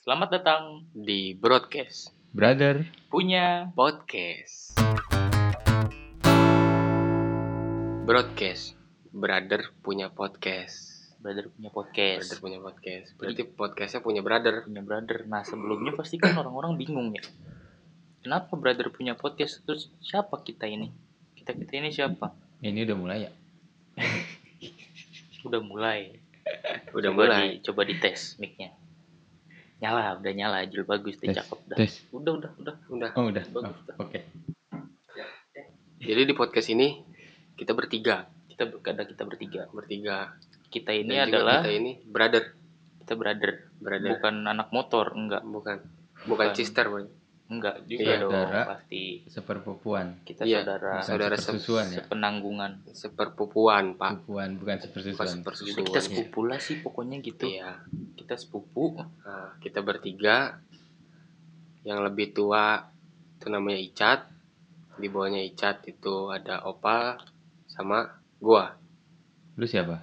Selamat datang di broadcast Brother, punya podcast. Broadcast. Brother punya podcast. Brother punya podcast. Brother punya podcast. Berarti podcastnya punya brother. punya brother. Nah sebelumnya pasti kan orang-orang bingung ya. Kenapa brother punya podcast? Terus siapa kita ini? Kita kita ini siapa? ini udah mulai ya? Udah mulai. Udah coba mulai. Di, coba dites mic-nya. Nyala, udah nyala, jul bagus, udah Tes, cakep dah. tes. Udah, udah, udah. Udah. Oh udah. Bagus, Oh, Oke. Jadi di podcast ini kita bertiga. Kita ber- ada kita bertiga. Bertiga. Kita ini Dan juga adalah kita ini brother. kita brother, Brother. bukan anak motor, enggak, Bukan. Bukan Bukan. sister, Bro. enggak juga Iya, dong saudara. pasti. Seperpupuan. Kita Nah, Iya, saudara Ah. Bukan saudara sepersusuan ya. sepenanggungan. Seperpupuan, Pak. Pupuan bukan Bukan sepersusuan. Jadi sepersusuan. kita sepupu lah sih pokoknya gitu. Iya. Kita sepupu. Nah, kita bertiga. Yang lebih tua itu namanya Icat. Di bawahnya Icat itu ada Opal sama gua. Lu siapa?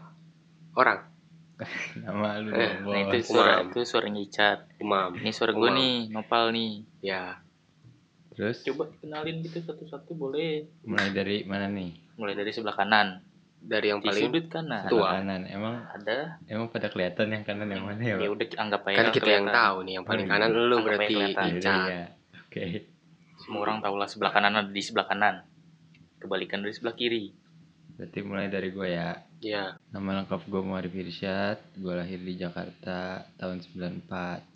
Orang. Nama lu Eh, dong, Nah Bon. itu suara Umam. itu suaranya Icat. Umam. Ini suara gue Umam. nih, Nopal nih. Ya. Terus Coba kenalin gitu satu-satu boleh. mulai dari mana nih? Mulai dari sebelah kanan. Dari Di yang paling sudut kanan. Tua. Kanan. Emang Ada. emang pada kelihatan yang kanan yang mana ya? Pak? Ya udah anggap aja kan kita yang kelihatan. tahu nih yang paling Oh, iya. kanan lu Anggap berarti aja kelihatan. Iya, iya, Ica iya. Oke. Semua orang tahu lah sebelah kanan ada di sebelah kanan. Kebalikan dari sebelah kiri. Berarti mulai dari gue ya. ya Nama lengkap gue Muharif Irsyad. Gue lahir di Jakarta tahun 94.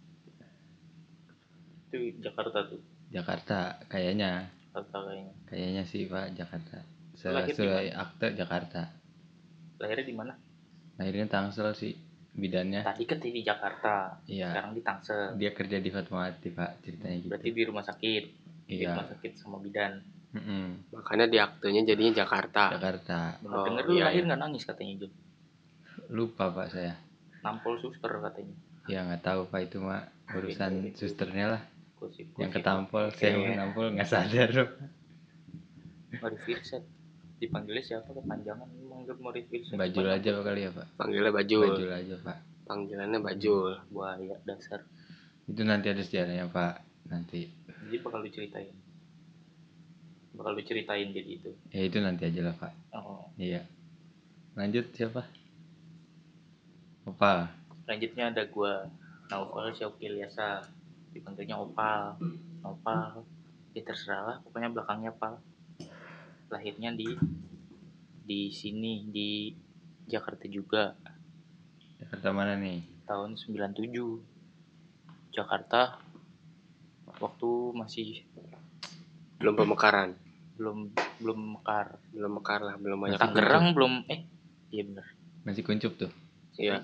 Itu Jakarta tuh. Jakarta kayaknya. Jakarta kayaknya. Kayaknya sih Pak Jakarta. Lahir di Sesuai akte Jakarta. Lahirnya di mana? Lahirnya Tangsel sih bidannya. Tadi kan di Jakarta. Ya. Iya. Sekarang di Tangsel. dia kerja di Fatmawati pak ceritanya gitu Berarti di rumah sakit. Di iya rumah sakit sama bidan. Mm-mm. makanya di aktenya jadinya Jakarta Jakarta Bener Oh, denger lu iya, lahir iya. nggak nangis katanya Jul. lupa pak saya Nampol suster katanya. ya nggak tahu pak itu mak urusan Gitu, gitu. susternya lah Gosip, gosip. yang ketampol saya yang Iya. ketampol nggak sadar loh Marif Irsyad. Dipanggilnya siapa kepanjangan? Lu Manggil Marif Irsyad. bajul Cuman aja pak kali ya pak iya. panggilnya Bajul bajul aja pak panggilannya Bajul Buaya dasar. itu nanti ada sejarahnya pak nanti Jadi bakal lu ceritain. Bakal lu ceritain jadi itu. ya itu nanti aja lah pak Oh. iya lanjut siapa Opal Selanjutnya ada gua Naufal Syaukil Yasa. Dipanggilnya Opal. Opal. Ya terserah lah. Pokoknya belakangnya Pal. Lahirnya di di sini di Jakarta juga. Jakarta mana nih tahun 97 Jakarta waktu masih belum pemekaran belum belum mekar belum mekar lah belum banyak Tangerang belum eh iya bener masih kuncup tuh Iya.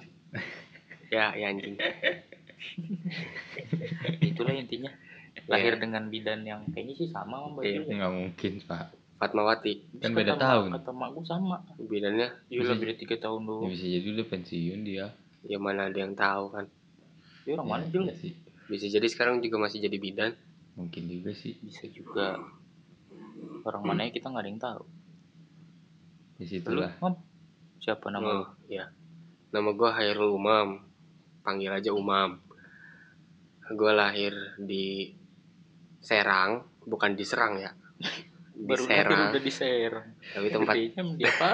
ya ya anjing itulah intinya lahir dengan bidan yang kayaknya sih sama sama Iya. Mbak Jul. ya. nggak mungkin pak Fatmawati Terus kan beda kata mak- tahun. kata mak gua sama bidannya dia Bisa- lebih dari tiga tahun ya dulu Iya, bisa jadi udah pensiun dia ya mana ada yang tahu kan dia orang mana Ya, Jul? iya sih bisa jadi sekarang juga masih jadi bidan mungkin juga sih bisa juga orang mana ya? kita nggak ada yang tahu di lu situlah Mam, siapa nama lu? oh, ya nama gua Hairul Umam panggil aja Umam gua lahir di Serang bukan di Serang ya di baru lahir Serang udah di Serang tapi tempat Gedenya dia apa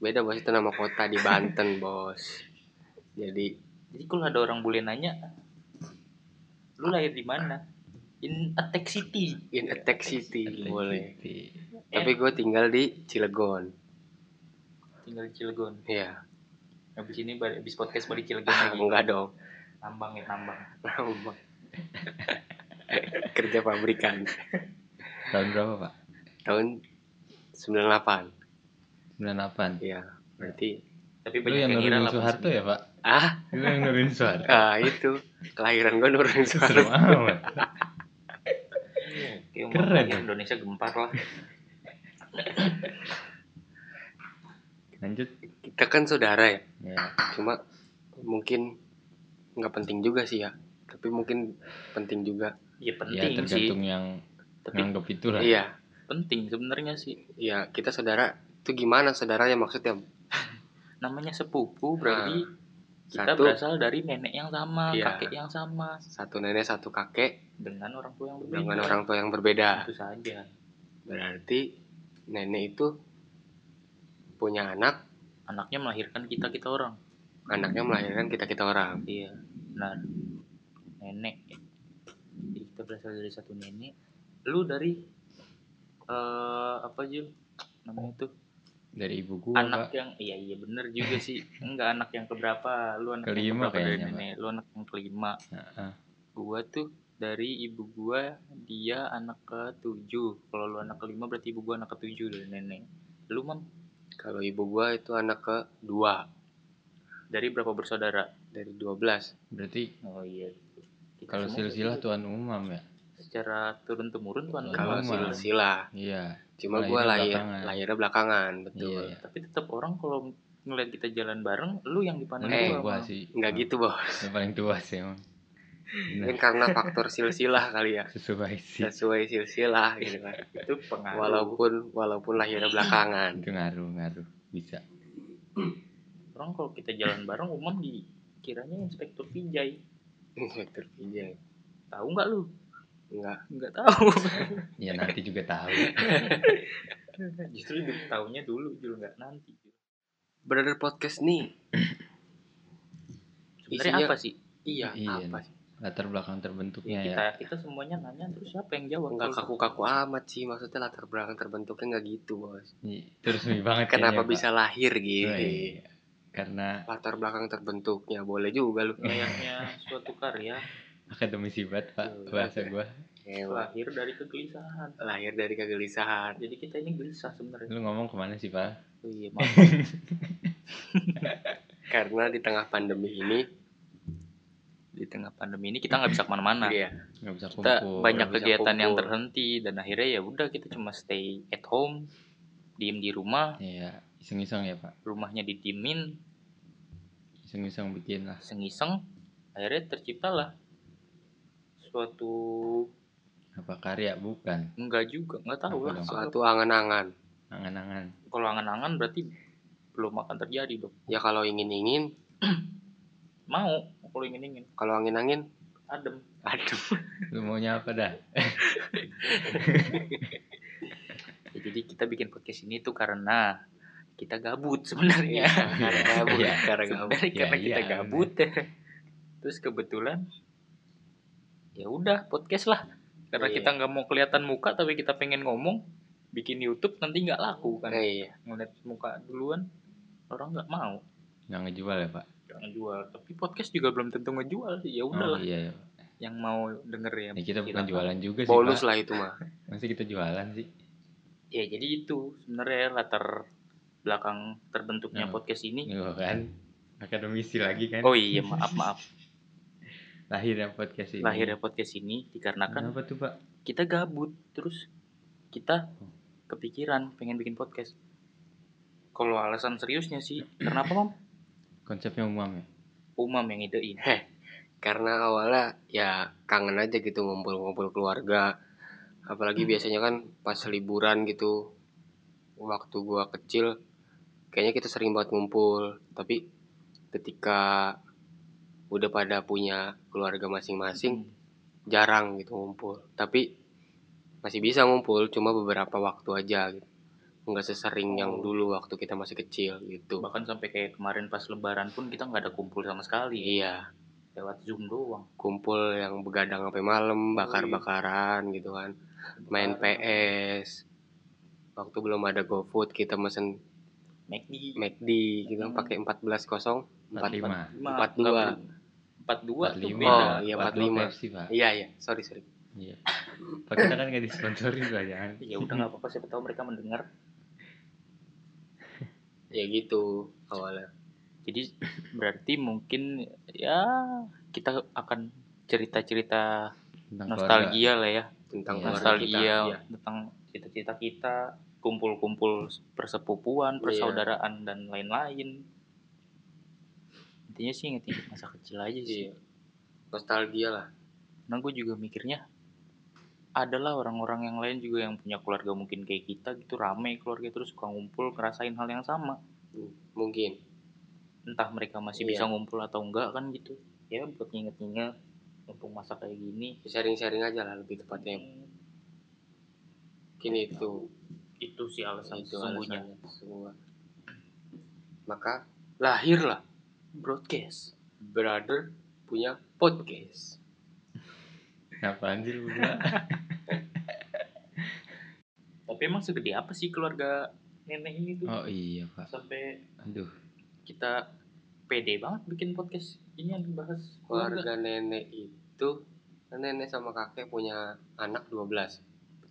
beda bos itu nama kota di Banten bos jadi Jadi kalau ada orang boleh nanya, lu lahir di mana? In Attack City. in attack city Atlet boleh Eh. City. tapi gue tinggal di Cilegon Tinggal di Cilegon. ya Habis ini balik- habis podcast balik Cilegon ah, lagi. enggak dong Nambang ya nambang. kerja pabrikan Tahun berapa pak? tahun 98 98 ya berarti Tapi Lu Iya, banyak yang yang ngira nurunin lah. Soeharto ya pak? ah Lu yang nurunin Soeharto ah, itu kelahiran gue nurun Serem Iya. suara amat Kayak umur Keren. kan? lahir Indonesia gempar lah. Lanjut kita kan saudara ya ya, cuma mungkin nggak penting juga sih ya tapi mungkin penting juga Ya ya penting sih. tergantung yang Tapi nganggep itu lah iya penting sebenarnya sih. iya kita ya? saudara itu gimana saudaranya maksudnya Namanya sepupu berarti Kita Ah, Satu. berasal dari nenek yang sama, Iya. kakek yang sama, Satu nenek, satu kakek dengan orang tua yang berbeda. dengan orang tua yang berbeda. itu saja. Berarti nenek itu punya anak, Anaknya melahirkan kita kita orang. anaknya melahirkan kita-kita orang. Iya, benar. Nenek. Jadi kita berasal dari satu nenek. Lu dari eh apa Jul? Namanya tuh dari ibu gua anak Pak. yang iya iya bener juga sih. Enggak anak yang keberapa? Lu anak yang Kelima keberapa dari kayaknya, Pak. nenek? Lu anak yang kelima. Heeh. Gua tuh dari ibu gua dia anak ketujuh. Kalau lu anak kelima berarti ibu gua anak ketujuh dari nenek. Lu mam Kalau ibu gua itu anak kedua dari berapa bersaudara? dari 12. berarti Oh iya. Kita kalau semua silsilah gitu. tuan umam ya secara turun temurun tuan Kalau Kalau Lama. silsilah, iya cuma Lahirnya gua lahir belakangan. lahirnya belakangan, betul. iya tapi tetap orang kalau ngeliat kita jalan bareng lu yang dipandang Eh, gua, Nenek gua Mang. sih Nggak gitu, Bos. yang paling tua sih emang Mungkin karena faktor silsilah kali ya. sesuai Iya. sih Sesuai silsilah gitu kan. itu pengaruh Walaupun walaupun lahirnya belakangan. itu ngaruh ngaruh bisa orang kalau kita jalan bareng umum di kiranya inspektur pinjai Inspektur pijai. tahu nggak lu Enggak. nggak tahu ya nanti juga tahu justru di- tahunya dulu juga nggak nanti Brother podcast nih. sebenarnya Isinya- apa sih Iya, Iya. apa sih? latar belakang terbentuknya ya Iya, kita kita semuanya nanya terus siapa yang jawab Enggak Kalau- kaku-kaku amat sih, maksudnya latar belakang terbentuknya nggak gitu, Bos. Iya, itu resmi banget Kenapa kayaknya, bisa lahir Pak. gitu? Iya. karena Latar belakang terbentuknya boleh juga lu. layaknya suatu karya akademisi banget pak Iya. bahasa gua Iya, Iya, Ewa. lahir dari kegelisahan Nah, Lahir dari kegelisahan. jadi kita ini gelisah sebenarnya lu ngomong kemana sih pak oh, iya maaf Karena di tengah pandemi ini, di tengah pandemi ini kita nggak bisa Nah. kemana-mana iya, nggak bisa kumpul kita banyak nggak bisa kegiatan yang kumpul. terhenti dan akhirnya ya udah kita cuma stay at home diem di rumah iya iseng-iseng ya pak rumahnya didiemin iseng-iseng bikin lah sengiseng akhirnya terciptalah suatu apa karya bukan enggak juga nggak tahu Apa lah dong? suatu suatu angan-angan. angan-angan kalau angan-angan berarti belum akan terjadi dong Ya kalau ingin-ingin, mau kalau ingin ingin kalau angin-angin, adem aduh. lu maunya apa dah Ya, jadi kita bikin podcast ini tuh karena kita gabut sebenarnya Karena gabut, Iya. Iya, karena gabut. Sebenarnya karena Iya, kita iya, gabut terus kebetulan ya udah podcast lah karena Iya. kita nggak mau kelihatan muka tapi kita pengen ngomong bikin YouTube nanti nggak laku kan Nah, iya. ngeliat muka duluan orang nggak mau nggak ngejual ya pak nggak ngejual tapi podcast juga belum tentu ngejual sih. ya oh udah lah iya ya Pak. yang mau denger ya Ya, kita bukan silakan. jualan juga sih Bonus pak lah itu mah. masih kita jualan sih ya jadi itu sebenarnya latar belakang terbentuknya Hmm. podcast ini Iya kan akademisi lagi kan oh iya maaf maaf lahirnya podcast ini lahirnya podcast ini dikarenakan kenapa tuh pak kita gabut terus kita kepikiran pengen bikin podcast kalau alasan seriusnya sih kenapa mam konsepnya umam ya umam yang idein Karena awalnya ya kangen aja gitu ngumpul-ngumpul keluarga. Apalagi biasanya kan pas liburan gitu. Waktu gua kecil, kayaknya kita sering banget ngumpul. Tapi ketika udah pada punya keluarga masing-masing, jarang gitu ngumpul tapi masih bisa ngumpul cuma beberapa waktu aja gitu nggak sesering Oh. yang dulu waktu kita masih kecil gitu bahkan sampai kayak kemarin pas lebaran pun kita nggak ada kumpul sama sekali iya lewat zoom doang kumpul yang begadang sampai Oh, malam iya. bakar bakaran gitu kan main PS waktu belum ada GoFood kita mesen McD McD gitu kan Hmm. pakai 14.0 empat lima Empat 42. dua empat dua empat tuh lima beda Oh, iya, 45. sih pak iya iya sorry sorry iya pak kita kan nggak disponsori pak jangan ya udah nggak apa-apa siapa tahu mereka mendengar ya gitu awalnya jadi berarti mungkin ya kita akan cerita-cerita Tentang keluarga. nostalgia lah ya tentang Iya. keluarga kita nostalgia Iya. tentang cita-cita kita kumpul-kumpul persepupuan Iya. persaudaraan dan lain-lain intinya sih inget masa kecil aja sih Iya. nostalgia lah karena gue juga mikirnya adalah orang-orang yang lain juga yang punya keluarga mungkin kayak kita gitu rame keluarga terus suka ngumpul ngerasain hal yang sama mungkin entah mereka masih Iya. bisa ngumpul atau enggak kan gitu ya buat nginget-nginget mumpung masa kayak gini sharing-sharing aja lah lebih tepatnya Hmm, kini itu itu sih alasan itu sesungguhnya alasannya semua maka lahirlah broadcast brother punya podcast Apaan sih lu berdua? tapi emang segede apa sih keluarga nenek ini tuh Oh iya pak sampai Aduh kita pede banget bikin podcast ini yang bahas keluarga keluarga nenek itu kan nenek sama kakek punya anak 12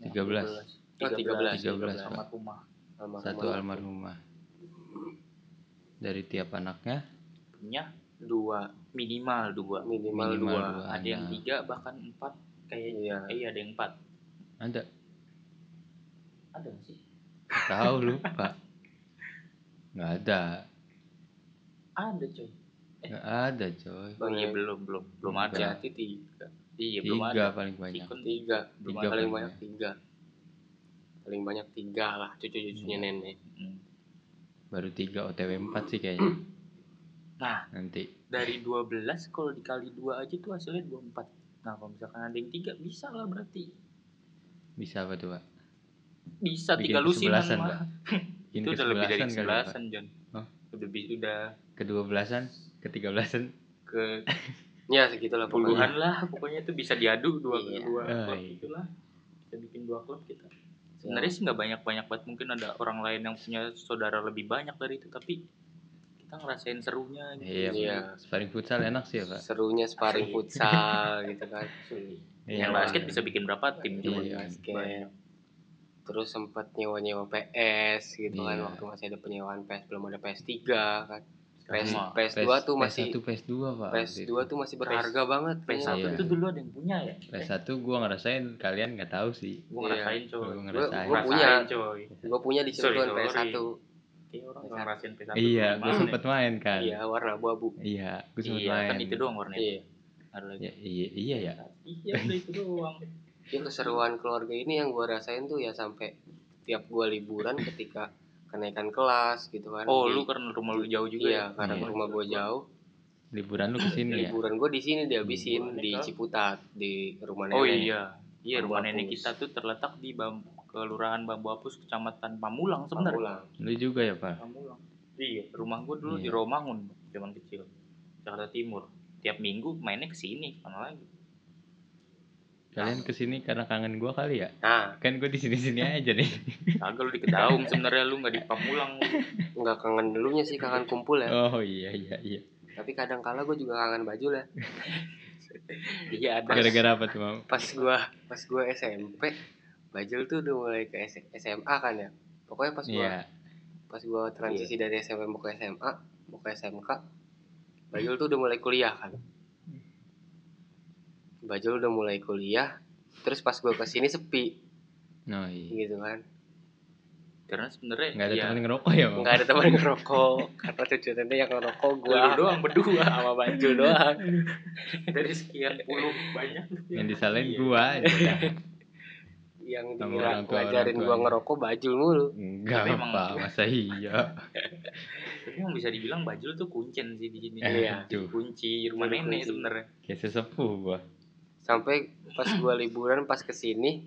13. Oh, 13. 13, sama rumah Almarhum Satu anak almarhumah Dari tiap anaknya punya dua minimal dua minimal, Minimal dua, dua. ada yang anak. tiga bahkan empat kayaknya iya eh, iya ada yang empat Ada ada nggak sih Tahu lupa Nggak ada ada coy Nggak ada coy oh, iya Banyak. belum belum belum Tiga. ada jati tiga iya belum Tiga ada paling banyak Sikun tiga tiga belum Tiga. ada paling banyak. banyak tiga paling banyak tiga lah cucu-cucunya Hmm. nenek Hmm. Baru tiga OTW 4 sih kayaknya nah Nanti dari 12 kalau dikali dua aja tuh hasilnya 24 nah kalau misalkan ada yang tiga bisa lah berarti bisa apa tuh pak? bisa Bikin tiga lusinan kesebelasan, mah Ini itu udah lebih dari kesebelasan kali, Pak. kesebelasan John Hah? udah bi- udah kedua belasan, ketiga belasan. ke ya segitulah puluhan pokoknya lah pokoknya itu bisa diadu dua Iya. dua Ah, klub iya. itulah kita bikin dua klub kita sebenarnya sih nggak banyak banyak banget mungkin ada orang lain yang punya saudara lebih banyak dari itu tapi kita ngerasain serunya Iya, gitu Pak. Iya. Sparring futsal enak sih ya, Pak. serunya sparring Asli. futsal gitu kan yang Iya, Pak. basket bisa bikin berapa tim Iya, coba iya. basket terus sempat nyewa-nyewa PS gitu kan Iya. waktu masih ada penyewaan PS belum ada PS3 kan PS Sama. PS2 tuh masih PS1, PS2, Pak. waktu PS2 itu. tuh masih berharga banget PS1 Iya. tuh dulu ada yang punya ya PS1 gua ngerasain kalian nggak tahu sih. gue Iya. ngerasain coy Gua Gua- ngerasain. gua punya. Ngerasain, coy gue punya di situ Sorry, kan sorry. PS1 kayak orang PS1. nggak ngerasain PS1 Iya, gimana gua ya? sempet main kan. iya warna abu-abu Iya, gua sempet iya main. kan itu doang warnanya iya ada lagi Ya, iya, iya ya. iya udah itu doang ya keseruan keluarga ini yang gue rasain tuh ya sampai tiap gue liburan ketika kenaikan kelas gitu kan oh Di- lu karena rumah lu jauh juga iya ya? karena Iya. rumah gue jauh Liburan lu kesini ya. liburan gue di sini dihabisin Liburan, di ya kan? Ciputat di rumah nenek Oh iya, iya Bambu rumah nenek Apus. kita tuh terletak di Bam- kelurahan Bambu Apus, kecamatan Pamulang sebenarnya. pulang Lu juga ya, Pak. Pamulang. Iya, rumah gua dulu di Iya. Romangun, zaman kecil, Jakarta Timur. Tiap minggu mainnya ke sini, mana lagi? Kalian kesini karena kangen gua kali ya. nah Kan gua di sini-sini aja nih. Kagak lu di Kedaung sebenarnya lu nggak di Pamulang. lu. nggak kangen dulunya sih kangen kumpul ya Oh iya iya iya. tapi kadang kala gue juga kangen ya. baju lah Iya ada. Gara-gara apa tuh, Mam? pas gue pas gue SMP Bajul tuh udah mulai ke S- SMA kan ya pokoknya pas gue Iya. pas gue transisi dari SMP mau ke SMA mau ke SMK Bajul tuh udah mulai kuliah kan Bajul udah mulai kuliah terus pas gue kesini sepi No, iya. gitu kan Karena sebenarnya Enggak ada ya, temen ngerokok ya, Mam? nggak ada teman ngerokok karena cucu nenek yang ngerokok gue Lu doang berdua sama Bajul doang dari sekian puluh banyak Yang disalahin Iya. gua aja. dah. yang Sama dikira orang tua- ngajarin orang gue tuanya. ngerokok Bajul mulu Enggak Tapi emang- apa, masa iya. Tapi yang bisa dibilang Bajul tuh kuncen sih di sini. Iya. Kunci rumah Jadi nenek kunci. sebenarnya. Kayak sesepuh gua. sampai pas gue liburan pas kesini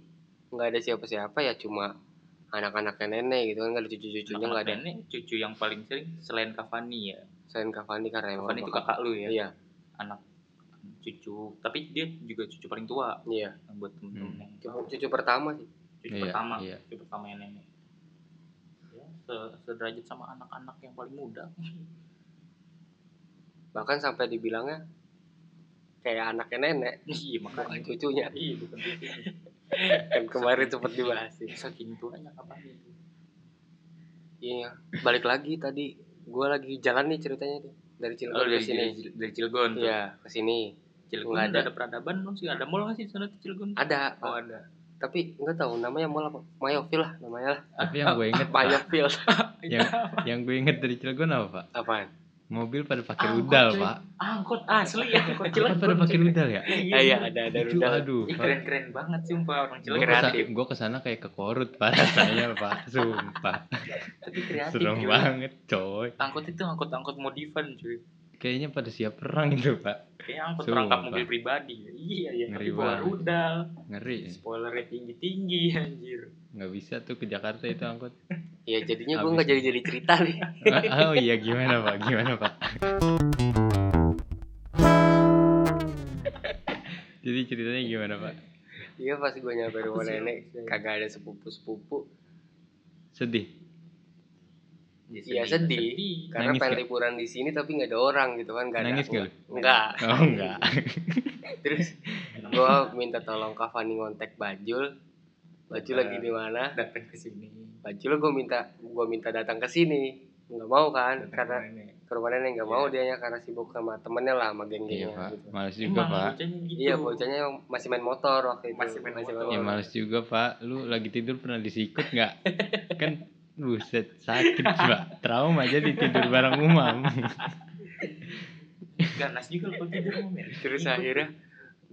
nggak ada siapa-siapa ya cuma anak-anaknya nenek gitu kan nggak ada cucu-cucunya nggak ada Anak-anak nenek cucu yang paling sering selain Cavani ya. selain Cavani karena emang Cavani itu bakal- kakak lu ya. Oh, iya anak cucu tapi dia juga cucu paling tua iya buat temen-temen Hmm. yang cucu, cucu pertama sih cucu Iya, pertama iya. cucu pertama yang nenek ya, se- sederajat sama anak-anak yang paling muda bahkan sampai dibilangnya kayak anaknya nenek iya bukan makanya cucunya iya bukan cucu kan kemarin sempat dibahas iya. sih. saking tuanya kapan itu iya balik lagi tadi gue lagi jalan nih ceritanya tuh dari Cilegon ke sini Oh, dari Cilegon tuh iya ke sini Cilegon Nggak ada. ada. ada peradaban belum sih ada mall nggak sih di sana di Cilegon ada oh ada tapi nggak tahu namanya mall apa Mayofil lah namanya lah Tapi yang gue inget, Pak, Mayofil yang gue inget dari Cilegon apa, Pak? apaan Mobil pada pakai Angkot, rudal, cuy. Pak. Ah, Angkot asli ya. Angkot Kan Cilegon. pada pakai rudal ya? Iya. Ah, iya ada ada Lucu, rudal. aduh. Ih, Pak. keren-keren banget sumpah orang Gue Cilegon. kesa- kreatif. gua kesana kayak ke korut, Pak. Rasanya, Pak. Sumpah. Tapi kreatif. Serem cuy. banget, coy. Angkot itu angkot-angkot modifan cuy. Kayaknya pada siap perang itu, Pak. Kayak angkot Sumpah. perangkap mobil pribadi. Iya ya, Ngeri tapi bawa banget. Iya. rudal. Ngeri. Spoilernya tinggi-tinggi anjir. Nggak bisa tuh ke Jakarta itu angkut. Ya jadinya gue Habis. nggak jadi jadi cerita nih. oh iya, gimana, Pak? Gimana, Pak? Jadi ceritanya gimana, Pak? Iya pas gue nyampe rumah ya Aku sih- nenek kagak ada sepupu sepupu. Sedih. Iya sedih. Karena Nangis pengen nggak? liburan di sini tapi nggak ada orang gitu kan nggak ada. Nangis nggak nggak? Nggak. Oh, enggak. Terus gue minta tolong Kak Fani ngontek Bajul. Bajul lagi Ah. di mana? Datang ke sini. Bajul gue minta gue minta datang ke sini. Nggak mau Datang kan? Karena ke nenek. ke rumah nenek nggak mau dia karena sibuk sama temennya lah sama Iya, geng-gengnya. Pak. gitu. Males juga, Emang Pak. bocahnya gitu. Iya bocahnya yang masih main motor waktu itu. Masih main motor. Ya males juga, Pak. Lu lagi tidur pernah disikut nggak? Kan buset sakit, Pak. Trauma jadi tidur bareng umam. Ganas juga lu kalau tidur Om, ya. Terus Iya. Ikut. akhirnya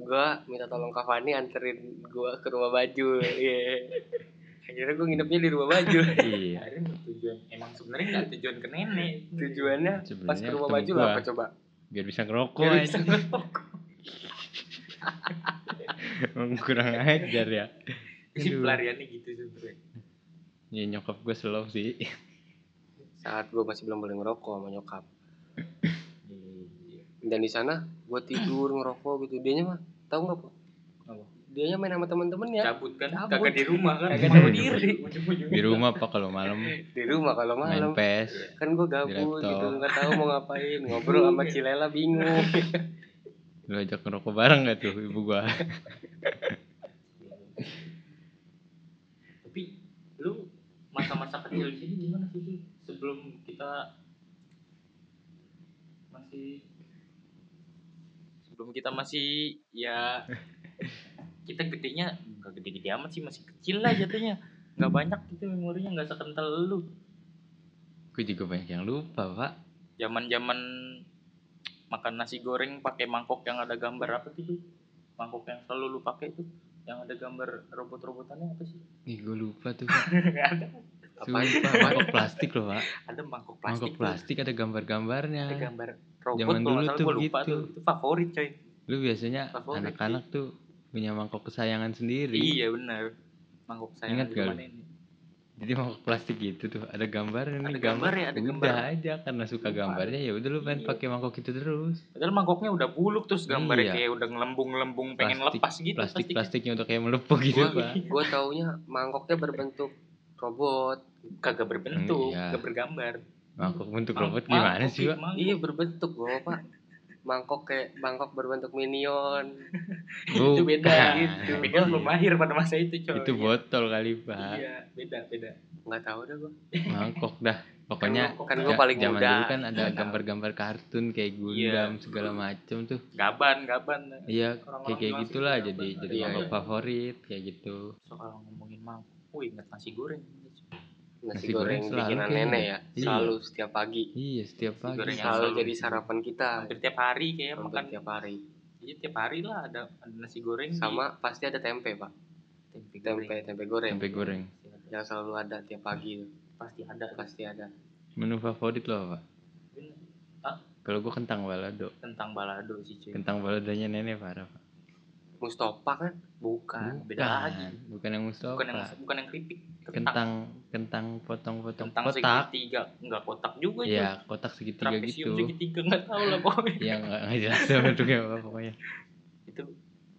gua minta tolong Kak Fani anterin gua ke rumah Bajul. Iya. Akhirnya gua nginepnya di rumah Bajul. iya. Akhirnya tujuan emang sebenarnya nggak tujuan ke nenek. Tujuannya pas ke Sebenarnya rumah ketemu Bajul gua. apa coba? Biar bisa ngerokok Biar aja. Emang kurang ajar ya. Jadi Aduh. pelariannya gitu sebenarnya. Ya nyokap gue slow sih. Saat gua masih belum boleh ngerokok sama nyokap. Iya. Dan di sana gua tidur ngerokok gitu. Dianya mah tahu nggak po? Apa? Dianya main sama ya? temen-temennya Cabut kan Cabut. kagak di rumah kan. Kagak Mau di rumah. Ujung-ujungnya. Di rumah Pak kalau malam di rumah kalau main malam. PES. Kan gua gabut laptop. Iya. gitu nggak tahu mau ngapain. Ngobrol sama Cilela bingung. Lu ajak ngerokok bareng gak tuh ibu gua? Tapi lu masa-masa kecil di sini gimana sih Ju? sebelum kita masih sebelum kita masih ya kita gedenya nggak gede-gede amat sih masih kecil lah jatuhnya nggak banyak gitu memorinya nggak sekental lu Gue juga banyak yang lupa Pak. zaman-zaman makan nasi goreng pakai mangkok yang ada gambar apa sih Ju? mangkok yang selalu lu pakai itu yang ada gambar robot-robotannya apa sih Ih gue lupa tuh Pak. ada Apaan? Sumpah, mangkok plastik loh Pak. ada mangkok Mangkok plastik tuh. plastik ada gambar-gambarnya. ada gambar robot Zaman kalau dulu nggak salah tuh gue lupa gitu. tuh itu favorit coy Lu biasanya Favorit. anak-anak tuh punya mangkok kesayangan sendiri. iya benar mangkok saya Ingat nggak lu? ini Jadi mangkok plastik gitu tuh ada gambarnya ada nih gambar ya ada udah gambar aja karena suka gambarnya ya udah lu pengen Iya. pakai mangkok itu terus. padahal mangkoknya udah buluk terus gambarnya Iya. kayak udah ngelembung-lembung pengen Plastik- lepas gitu Plastik plastiknya. plastiknya udah kayak melepuh gitu Gua- Pak. Gua taunya mangkoknya berbentuk robot. kagak berbentuk Iya. kagak bergambar Mangkok bentuk Mang- robot gimana mangkok, sih Pak? mangkok. Iya berbentuk gua pak Mangkok kayak mangkok berbentuk minion itu beda Bukan. Iya. gitu beda belum lahir pada masa itu coy Itu botol kali pak, iya beda beda Nggak tahu dah gua mangkok dah. Pokoknya Kan gua- kan gua ja- paling zaman muda. dulu kan ada Iya. gambar-gambar kartun kayak Gundam segala macem tuh. gaban gaban Orang-orang Iya kayak kayak bilang sih gitulah gambar. jadi jadi Iya, mangkok iya. favorit kayak gitu. soal ngomongin mangkok Wih, inget nasi goreng Nasi, Nasi goreng, goreng selalu bikinan kayaknya. nenek ya Iya. Selalu setiap pagi Iya gitu. setiap pagi. goreng yang Selalu selalu jadi sarapan kita hampir tiap hari kayak Hampir makan tiap hari Iya tiap hari lah ada, ada nasi goreng di- Sama pasti ada tempe pak tempe goreng. Iya, Tempe, tempe goreng Tempe goreng. Yang selalu ada tiap pagi tuh. pasti ada Pasti ada Menu favorit lo apa? Kalau gua kentang balado. tentang balado sih cuy Kentang baladonya nenek parah. Pak. Mustopa kan bukan beda Bukan. lagi Bukan yang Mustafa. bukan yang bukan yang keripik kentang Kentang kentang potong-potong kentang kotak. segitiga enggak kotak juga cuy Iya kotak segitiga trapesium gitu. segitiga enggak tahu lah pokoknya Iya nggak nggak jelas bentuknya apa pokoknya. itu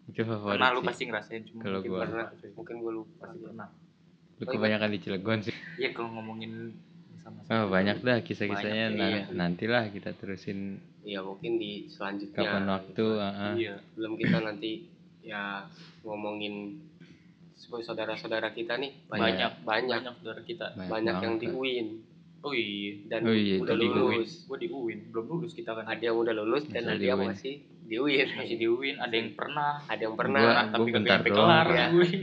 Itu favorit. pernah lu sih. pasti ngerasain cuma Kalau mungkin gua. pernah cuy. Mungkin gue lupa pasti pernah Lu kebanyakan di Cilegon sih. iya kalau ngomongin sama Oh, banyak dah kisah-kisahnya. Banyak, Nah, iya. nantilah kita terusin Ya mungkin di selanjutnya kapan waktu. gitu. ah, heeh. iya Belum kita nanti ya ngomongin saudara-saudara kita nih banyak banyak banyak saudara kita banyak yang banget, di Pak. UIN oh iya dan Oh iya, udah itu di lulus. gue di UIN belum lulus kita kan Ada yang udah lulus dan Masih ada di yang UIN. masih di UIN. masih di UIN ada yang pernah Ada yang Gua- pernah, pernah tapi gua kagak bentar nyampe doang, kelar ya. UIN.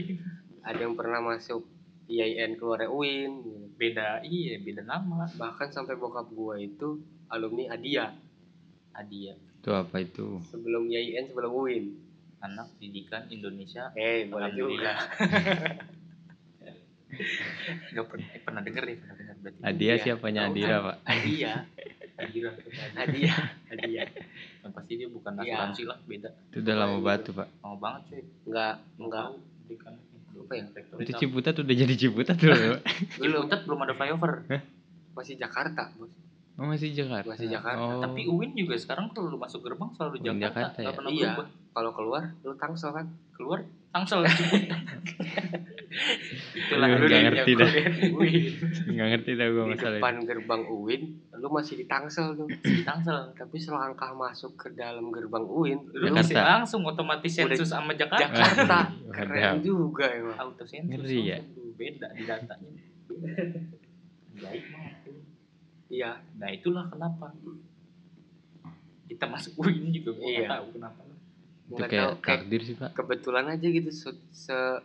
ada yang pernah masuk IAIN keluar UIN. beda iya beda nama Bahkan sampai bokap gua itu alumni Adia Adia Itu apa itu? sebelum YIN sebelum UIN anak didikan Indonesia eh boleh juga Alhamdulillah. nggak pernah eh, pernah denger deh pernah denger berarti Adia Iya. siapanya Tahu Adira, kan? Pak? Adia Adia Adia Adia yang pasti dia bukan Iya. asuransi lah beda Itu udah lama Iya, banget tuh, Pak. mau banget cuy nggak Mau nggak tahu kan didikan Apa ya? Itu Ciputat udah jadi Ciputat dulu. belum belum ada flyover masih Jakarta bos Oh, masih Jakarta. Masih Jakarta, Oh. tapi UIN juga sekarang kalau lu masuk gerbang selalu UIN Jakarta, Jakarta nggak ya? pernah Iya. berubah kalau keluar lu tangsel kan keluar tangsel itulah Aduh, nggak ngerti dah. UIN nggak ngerti dah gua di masalah depan gerbang UIN lu masih di tangsel tuh di tangsel tapi selangkah masuk ke dalam gerbang UIN lu Jakarta. bisa langsung otomatis Udah- sensus sama Jakarta Jakarta Waduh. keren juga emang auto sensus Ngeri ya. langsung. beda di datanya Ajaib banget. iya nah itulah kenapa kita masuk UIN juga gua nggak Iya. tahu kenapa Itu nggak tahu kayak kayak takdir sih, Pak. kebetulan aja gitu se, se-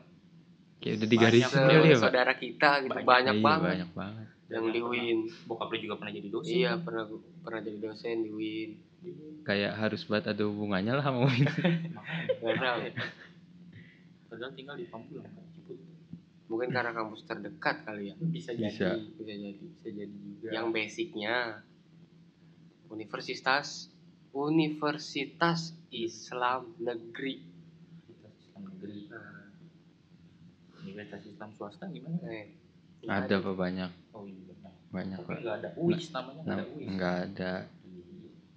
Kayak udah digarisin Banyak. kali ya, Pak. saudara kita gitu Banyak. banyak, Iya, banget Banyak banget. yang di UIN bokap lu juga pernah jadi dosen iya pernah pernah jadi dosen di UIN Kayak harus banget ada hubungannya lah sama Win. Makanya. nggak tahu padahal tinggal di Pamulang kan Ciput. mungkin karena kampus terdekat kali ya bisa jadi Bisa. bisa jadi bisa jadi juga Ya. yang basicnya universitas Universitas Islam Negeri Universitas Islam negeri Universitas Islam swasta gimana eh, Ada Pak banyak, oh iya benar banyak, tapi Pak. nggak ada UIS namanya nggak Nah, ada UIS Nggak ada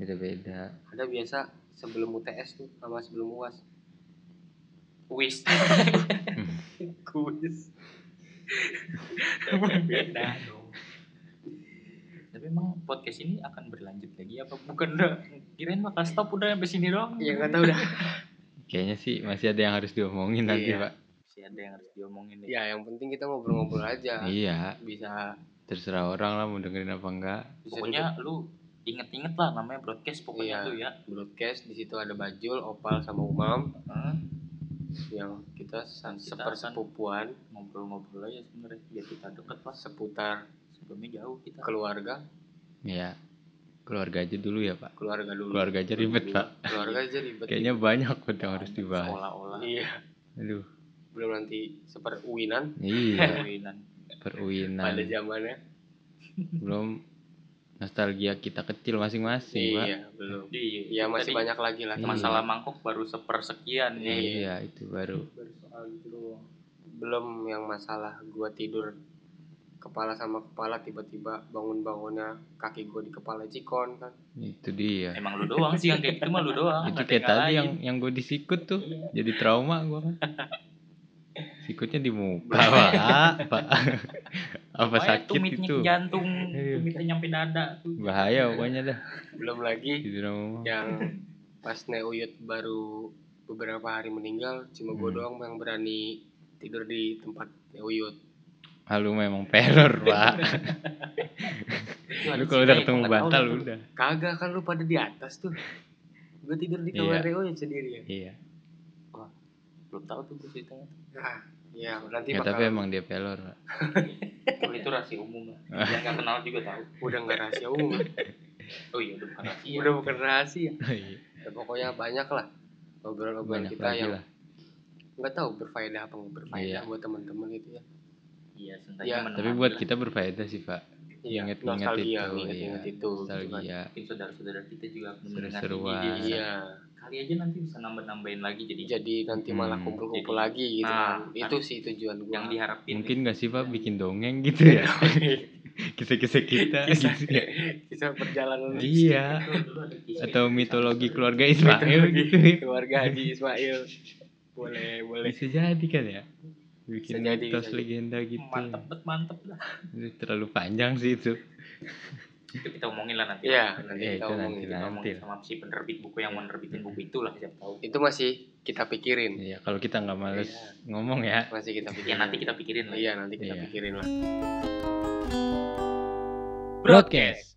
beda-beda. ada biasa sebelum UTS tuh sama sebelum UAS UIS Hmm. kuis beda dong tapi emang podcast ini akan berlanjut lagi apa bukan udah kirain bakal stop udah sampai sini doang ya nggak tahu dah Kayaknya sih masih ada yang harus diomongin nanti, Iya. Pak. masih ada yang harus diomongin deh. ya yang penting kita ngobrol-ngobrol aja Iya, bisa terserah orang lah mau dengerin apa enggak. bisa pokoknya lu inget-inget lah namanya broadcast pokoknya Iya. tuh ya di broadcast di situ ada Bajul, Opal sama Umam Heeh. yang kita san- Kita sepersepupuan ngobrol-ngobrol aja sebenarnya biar kita deket lah seputar sebelumnya jauh kita keluarga Iya. Keluarga aja dulu ya, Pak. keluarga dulu Keluarga aja ribet, Pak. keluarga aja ribet Kayaknya banyak banget yang harus dibahas. seolah-olah iya Aduh. belum nanti seper uinan Iya, perkawinan. peruinan. pada zamannya Belum nostalgia kita kecil masing-masing, Pak. iya belum Iya, iya tadi masih banyak lagi lah Iya. Masalah mangkok baru sepersekian Iya. nih. Iya, itu baru. Bersoal gitu doang. belum yang masalah gua tidur kepala sama kepala tiba-tiba bangun-bangunnya kaki gua di kepala cikon kan Itu dia. Emang lu doang sih yang kayak gitu mah lu doang. itu nggak ada kayak tadi yang lain. yang gue disikut tuh Iya. jadi trauma gue kan sikutnya di muka pak pak apa Pokoknya sakit tumitnya itu ke jantung, Iya. tumitnya nyampe dada. Iya. bahaya pokoknya dah belum lagi di trauma yang pas Neuyut baru beberapa hari meninggal cuma gua Hmm. doang yang berani tidur di tempat Neuyut Lalu memang teror Iya, pak lu kalau udah ketemu bantal gitu. udah kagak kan lu pada di atas tuh gua tidur di kamar Iya. Neuyut sendirian iya Belum tahu tuh gue ceritanya. nah, ya nanti ya, bakal tapi emang dia pelor pak Kalau itu rahasia umum lah. Yang nggak kenal juga tahu. udah nggak rahasia umum Oh iya, udah bukan rahasia. udah bukan rahasia Iya, ya, pokoknya banyak lah obrolan-obrolan banyak kita lagi yang lah nggak tahu berfaedah apa nggak berfaedah Iya. buat teman-teman gitu ya Iya, Iya, sengaja menemani tapi buat lah. kita berfaedah sih pak Ingat- ingat nostalgia itu, ingat-ingat iya. itu gitu kan. nostalgia Mungkin saudara-saudara kita juga akan mendengar Seru-seruan. ini. Jadi, iya Kali aja nanti bisa nambah-nambahin lagi jadi jadi nanti malah Hmm. ah, kumpul-kumpul Jadi- lagi gitu Nah, kan. itu sih tujuan gua yang diharapin. mungkin nggak sih pak bikin dongeng gitu ya kisah-kisah kita Kisah. gitu ya. bisa perjalanan iya Dulu- dulu ada kisah- atau Iya, mitologi kisah- keluarga Ismail gitu ya. keluarga Haji Ismail boleh boleh Bisa jadi kan ya? Bikin Bisa jadi, mitos bisa jadi. legenda gitu. Mantep bet, mantep lah. Ini terlalu panjang sih itu. Itu kita omongin lah nanti. Iya, nanti Ya, Iya. kita itu omongin, nanti kita nanti. omongin sama si penerbit buku yang mau nerbitin buku itu lah siapa tahu. itu masih kita pikirin Iya, kalau kita nggak males Iya. ngomong ya. masih kita Ya pikirin nanti kita pikirin lah. ya. iya nanti kita Iya. pikirin lah Broadcast.